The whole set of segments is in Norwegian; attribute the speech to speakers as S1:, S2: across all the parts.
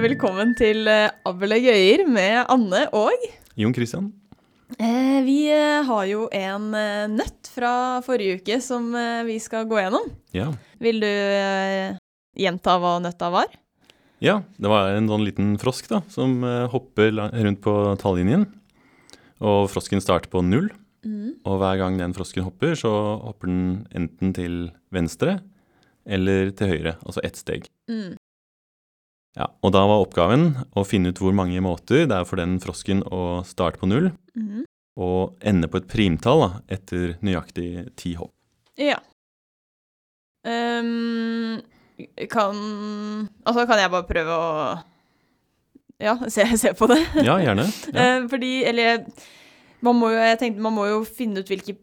S1: velkommen til eh, Abel og Gøyer med Anne og
S2: Jon Christian.
S1: eh, Vi eh, har jo en eh, nøtt fra forrige uke som eh, vi skal gå gjennom.
S2: Ja.
S1: Vil du eh, gjenta hva nøtta var?
S2: ja, det var en sånn liten frosk da, som eh, hopper la- rundt på tallinjen. Og frosken starter på null,
S1: Mm.
S2: og hver gang den frosken hopper, så hopper den enten til venstre eller til høyre, altså ett steg.
S1: Mm.
S2: Ja, og da var oppgaven å finne ut hvor mange måter det er for den frosken å starte på null,
S1: Mhm.
S2: og ende på et primtall da, etter nøyaktig ti hopp.
S1: Ja. Ehm, kan Altså, kan jeg bare prøve å Ja, se, se på det?
S2: Ja, gjerne. Ja.
S1: Eh, fordi, eller man må, jo, jeg tenkte, man må jo finne ut hvilke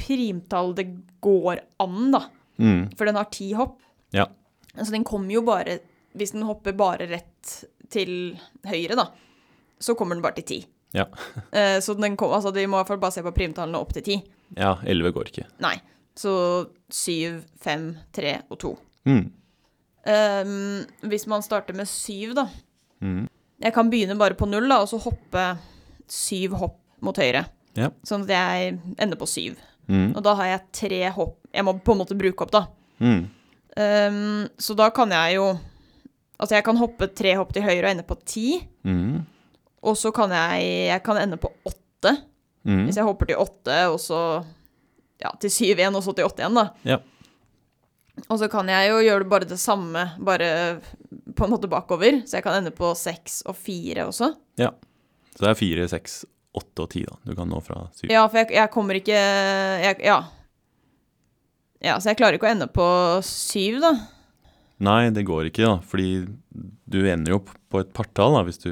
S1: primtall det går an, da.
S2: Mm.
S1: For den har ti hopp.
S2: Ja.
S1: Så den kommer jo bare Hvis den hopper bare rett til høyre, da, så kommer den bare til ti.
S2: Ja.
S1: Eh, så den kom, altså, vi må i hvert fall bare se på primtallene opp til ti.
S2: ja, elleve går ikke.
S1: Nei. Så syv, fem, tre og to.
S2: Mm.
S1: Ehm, hvis man starter med syv, da
S2: Mm.
S1: Jeg kan begynne bare på null, da, og så hoppe syv hopp mot høyre.
S2: Ja.
S1: Sånn at jeg ender på syv.
S2: Mm.
S1: Og da har jeg tre hopp jeg må på en måte bruke opp, da.
S2: Mm.
S1: Ehm, så da kan jeg jo Altså, jeg kan hoppe tre hopp til høyre og ende på ti.
S2: Mm.
S1: Og så kan jeg Jeg kan ende på åtte.
S2: Mm.
S1: Hvis jeg hopper til åtte, og så Ja, til syv igjen, og så til åtte igjen, da.
S2: Ja.
S1: Og så kan jeg jo gjøre det bare det samme, bare på en måte bakover. Så jeg kan ende på seks og fire også.
S2: Så det er fire, seks, åtte og ti, da. Du kan nå fra syv.
S1: Ja, for jeg, jeg kommer ikke jeg, Ja. Ja, så jeg klarer ikke å ende på syv, da.
S2: Nei, det går ikke, da. Fordi du ender jo opp på et partall, da, hvis du,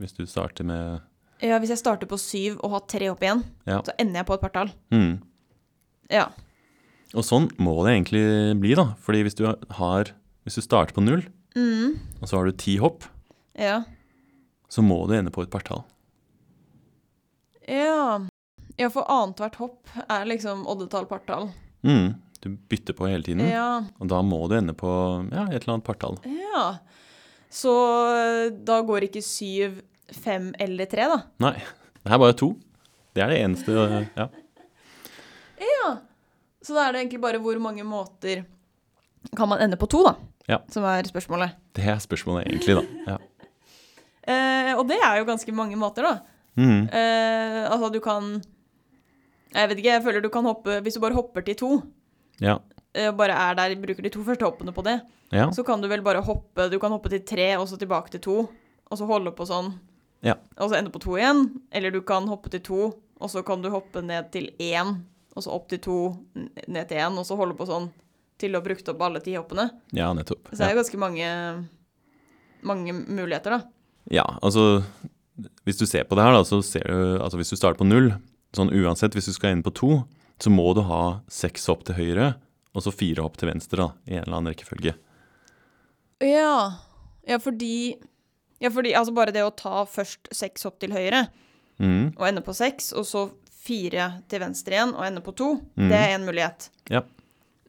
S2: hvis du starter med
S1: Ja, Hvis jeg starter på syv og har tre opp igjen,
S2: Ja.
S1: så ender jeg på et partall.
S2: mm.
S1: Ja.
S2: Og sånn må det egentlig bli, da. Fordi hvis du har Hvis du starter på null,
S1: Mm,
S2: og så har du ti hopp,
S1: ja.
S2: så må du ende på et partall.
S1: ja. Ja, for annethvert hopp er liksom oddetall, partall.
S2: Mm. Du bytter på hele tiden,
S1: Ja.
S2: og da må du ende på ja, et eller annet partall.
S1: ja. Så eh, da går ikke syv, fem eller tre, da.
S2: Nei, det er bare to. Det er det eneste Ja.
S1: Så da er det egentlig bare hvor mange måter kan man ende på to, da,
S2: Ja.
S1: som er spørsmålet.
S2: Det er spørsmålet, egentlig, da. Ja.
S1: Eh, og det er jo ganske mange måter, da.
S2: Mm.
S1: Eh, altså, du kan Jeg vet ikke, jeg føler du kan hoppe Hvis du bare hopper til to,
S2: Ja.
S1: eh, og bare er der, bruker de to første hoppene på det,
S2: ja.
S1: så kan du vel bare hoppe Du kan hoppe til tre, og så tilbake til to, og så holde på sånn,
S2: Ja.
S1: og så ende på to igjen. Eller du kan hoppe til to, og så kan du hoppe ned til én, og så opp til to, n- ned til én, og så holde på sånn til du har brukt opp alle ti hoppene.
S2: Ja, nettopp.
S1: Så det
S2: Ja.
S1: er jo ganske mange mange muligheter, da.
S2: ja, altså Hvis du ser på det her, da, så ser du Altså hvis du starter på null, sånn uansett, hvis du skal inn på to, så må du ha seks hopp til høyre, og så fire hopp til venstre, da, i en eller annen rekkefølge.
S1: Ja. ja, fordi Ja, fordi altså bare det å ta først seks hopp til høyre
S2: Mm,
S1: og ende på seks, og så fire til venstre igjen og ende på to,
S2: Mhm.
S1: det er én mulighet.
S2: Ja.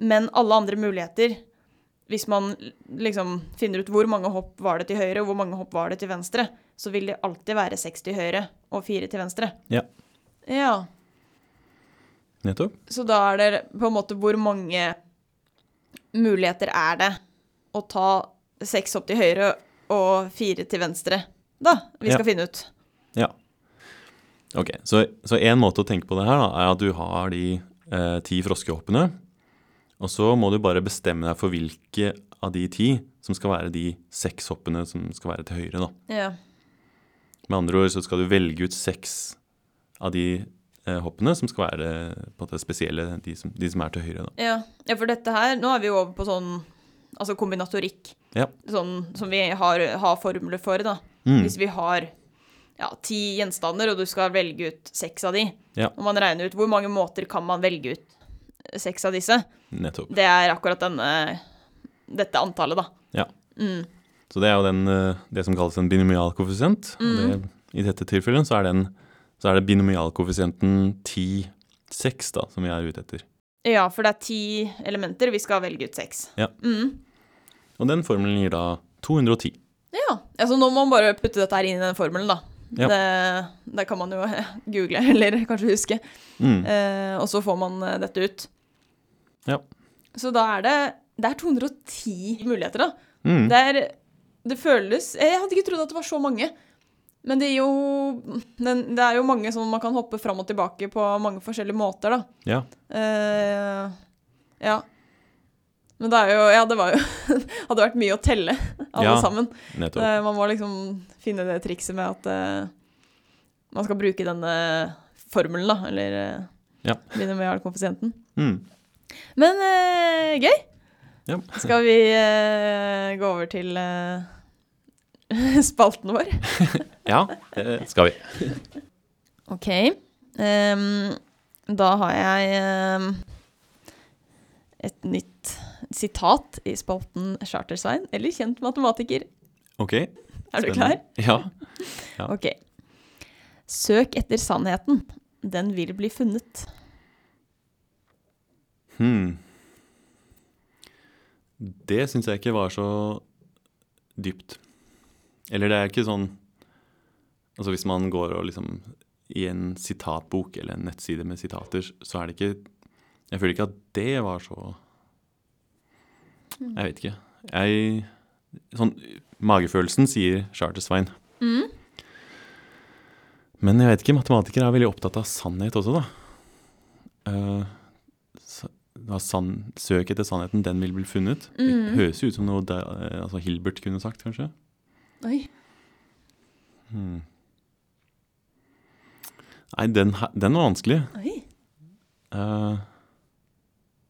S1: Men alle andre muligheter, hvis man liksom finner ut hvor mange hopp var det til høyre, og hvor mange hopp var det til venstre, så vil det alltid være seks til høyre og fire til venstre.
S2: Ja.
S1: ja.
S2: nettopp.
S1: Så da er det på en måte hvor mange muligheter er det å ta seks opp til høyre og fire til venstre, da? Vi
S2: Ja.
S1: skal finne ut.
S2: Ok, Så én måte å tenke på det her, da, er at du har de eh, ti froskehoppene, og så må du bare bestemme deg for hvilke av de ti som skal være de seks hoppene som skal være til høyre, da.
S1: Ja.
S2: Med andre ord så skal du velge ut seks av de eh, hoppene som skal være eh, på en måte spesielle, de som, de som er til høyre. Da.
S1: ja. Ja, for dette her Nå er vi jo over på sånn altså kombinatorikk.
S2: Ja.
S1: Sånn som vi har, har formler for, da.
S2: Mm.
S1: Hvis vi har ja, ti gjenstander, og du skal velge ut seks av de,
S2: Ja.
S1: og man regner ut hvor mange måter kan man velge ut seks av disse,
S2: Nettopp.
S1: det er akkurat denne, dette antallet, da.
S2: Ja.
S1: Mm.
S2: Så det er jo den, eh, det som kalles en binomialkoeffisient. og
S1: Mm.
S2: Det, I dette tilfellet så er, den, så er det binomialkoeffisienten 10-6 da, som vi er ute etter.
S1: Ja, for det er ti elementer. Vi skal velge ut seks.
S2: Ja.
S1: Mm.
S2: Og den formelen gir da 210.
S1: Ja. Altså, nå må man bare putte dette her inn i den formelen, da.
S2: Ja.
S1: Det, det kan man jo google, eller kanskje huske.
S2: Mm.
S1: Eh, og så får man eh, dette ut.
S2: Ja.
S1: Så da er det Det er 210 muligheter, da.
S2: Mm.
S1: Det er Det føles Jeg hadde ikke trodd at det var så mange. Men det er jo men Det er jo mange som man kan hoppe fram og tilbake på mange forskjellige måter, da.
S2: Ja.
S1: Eh, ja. Men det er jo Ja, det var jo Hadde vært mye å telle, alle
S2: Ja.
S1: sammen.
S2: Nettopp.
S1: Eh, man må liksom finne det trikset med at eh, man skal bruke denne formelen, da. Eller eh,
S2: Ja.
S1: begynne med R-koeffisienten.
S2: Mm.
S1: Men eh, gøy!
S2: Ja.
S1: Skal vi eh, gå over til eh, spalten vår?
S2: ja, det skal vi.
S1: OK. Ehm, da har jeg ehm, et nytt sitat i spalten Chartersvein, eller kjent matematiker.
S2: Ok.
S1: Er du
S2: spennende.
S1: klar?
S2: Ja. Ja.
S1: Ok. Søk etter sannheten. Den vil bli funnet.
S2: Hmm. Det syns jeg ikke var så dypt. Eller det er ikke sånn Altså hvis man går og liksom i en sitatbok eller en nettside med sitater, så er det ikke Jeg føler ikke at det var så Jeg vet ikke. Jeg Sånn Magefølelsen sier Charter-Svein.
S1: Mm.
S2: Men jeg vet ikke. Matematikere er veldig opptatt av sannhet også, da. Eh, så- da sann, søk etter sannheten, den vil bli funnet.
S1: Mhm.
S2: Det høres jo ut som noe der, eh, altså Hilbert kunne sagt, kanskje.
S1: Oi.
S2: Hmm. Nei, den, her- den var vanskelig.
S1: Oi.
S2: Eh,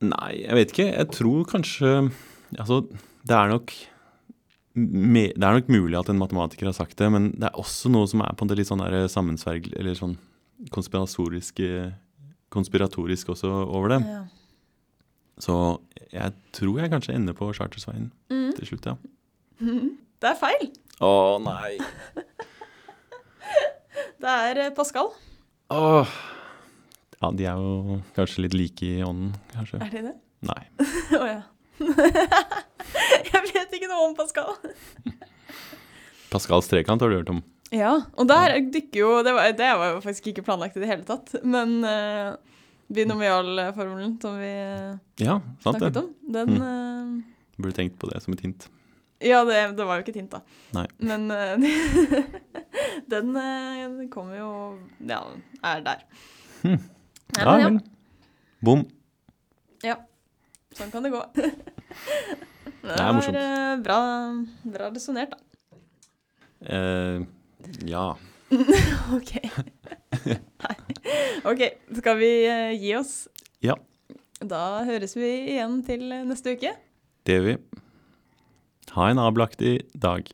S2: nei, jeg vet ikke. Jeg tror kanskje Altså, det er nok me, Det er nok mulig at en matematiker har sagt det, men det er også noe som er på en måte litt sånn der sammensverg... Eller sånn konspiratorisk, eh, konspiratorisk også over det.
S1: Ja.
S2: Så jeg tror jeg kanskje ender på Chartersveien
S1: Mm.
S2: til slutt, ja.
S1: Det er feil.
S2: Å nei.
S1: Det er eh, Pascal.
S2: Åh. Ja, de er jo kanskje litt like i ånden, kanskje.
S1: Er det det?
S2: Nei.
S1: Å ja. Jeg vet ikke noe om Pascal.
S2: Pascals trekant har du hørt om.
S1: Ja, og der dykker jo Det var, det var jo faktisk ikke planlagt i det hele tatt. Men uh, binomialformelen som vi eh,
S2: Ja, sant
S1: snakket
S2: det.
S1: om, den
S2: Mm.
S1: eh,
S2: Burde tenkt på det som et hint.
S1: Ja, det, det var jo ikke tint, da.
S2: Nei.
S1: Men eh, den eh, kommer jo Ja, er der.
S2: Hm.
S1: Nei, men ja,
S2: Bom.
S1: sånn kan det gå. det
S2: er morsomt.
S1: var eh, bra, bra resonnert, da.
S2: Eh, ja.
S1: OK. Nei. OK, skal vi eh, gi oss?
S2: Ja.
S1: Da høres vi igjen til eh, neste uke.
S2: Det gjør vi. Ha en abelaktig dag.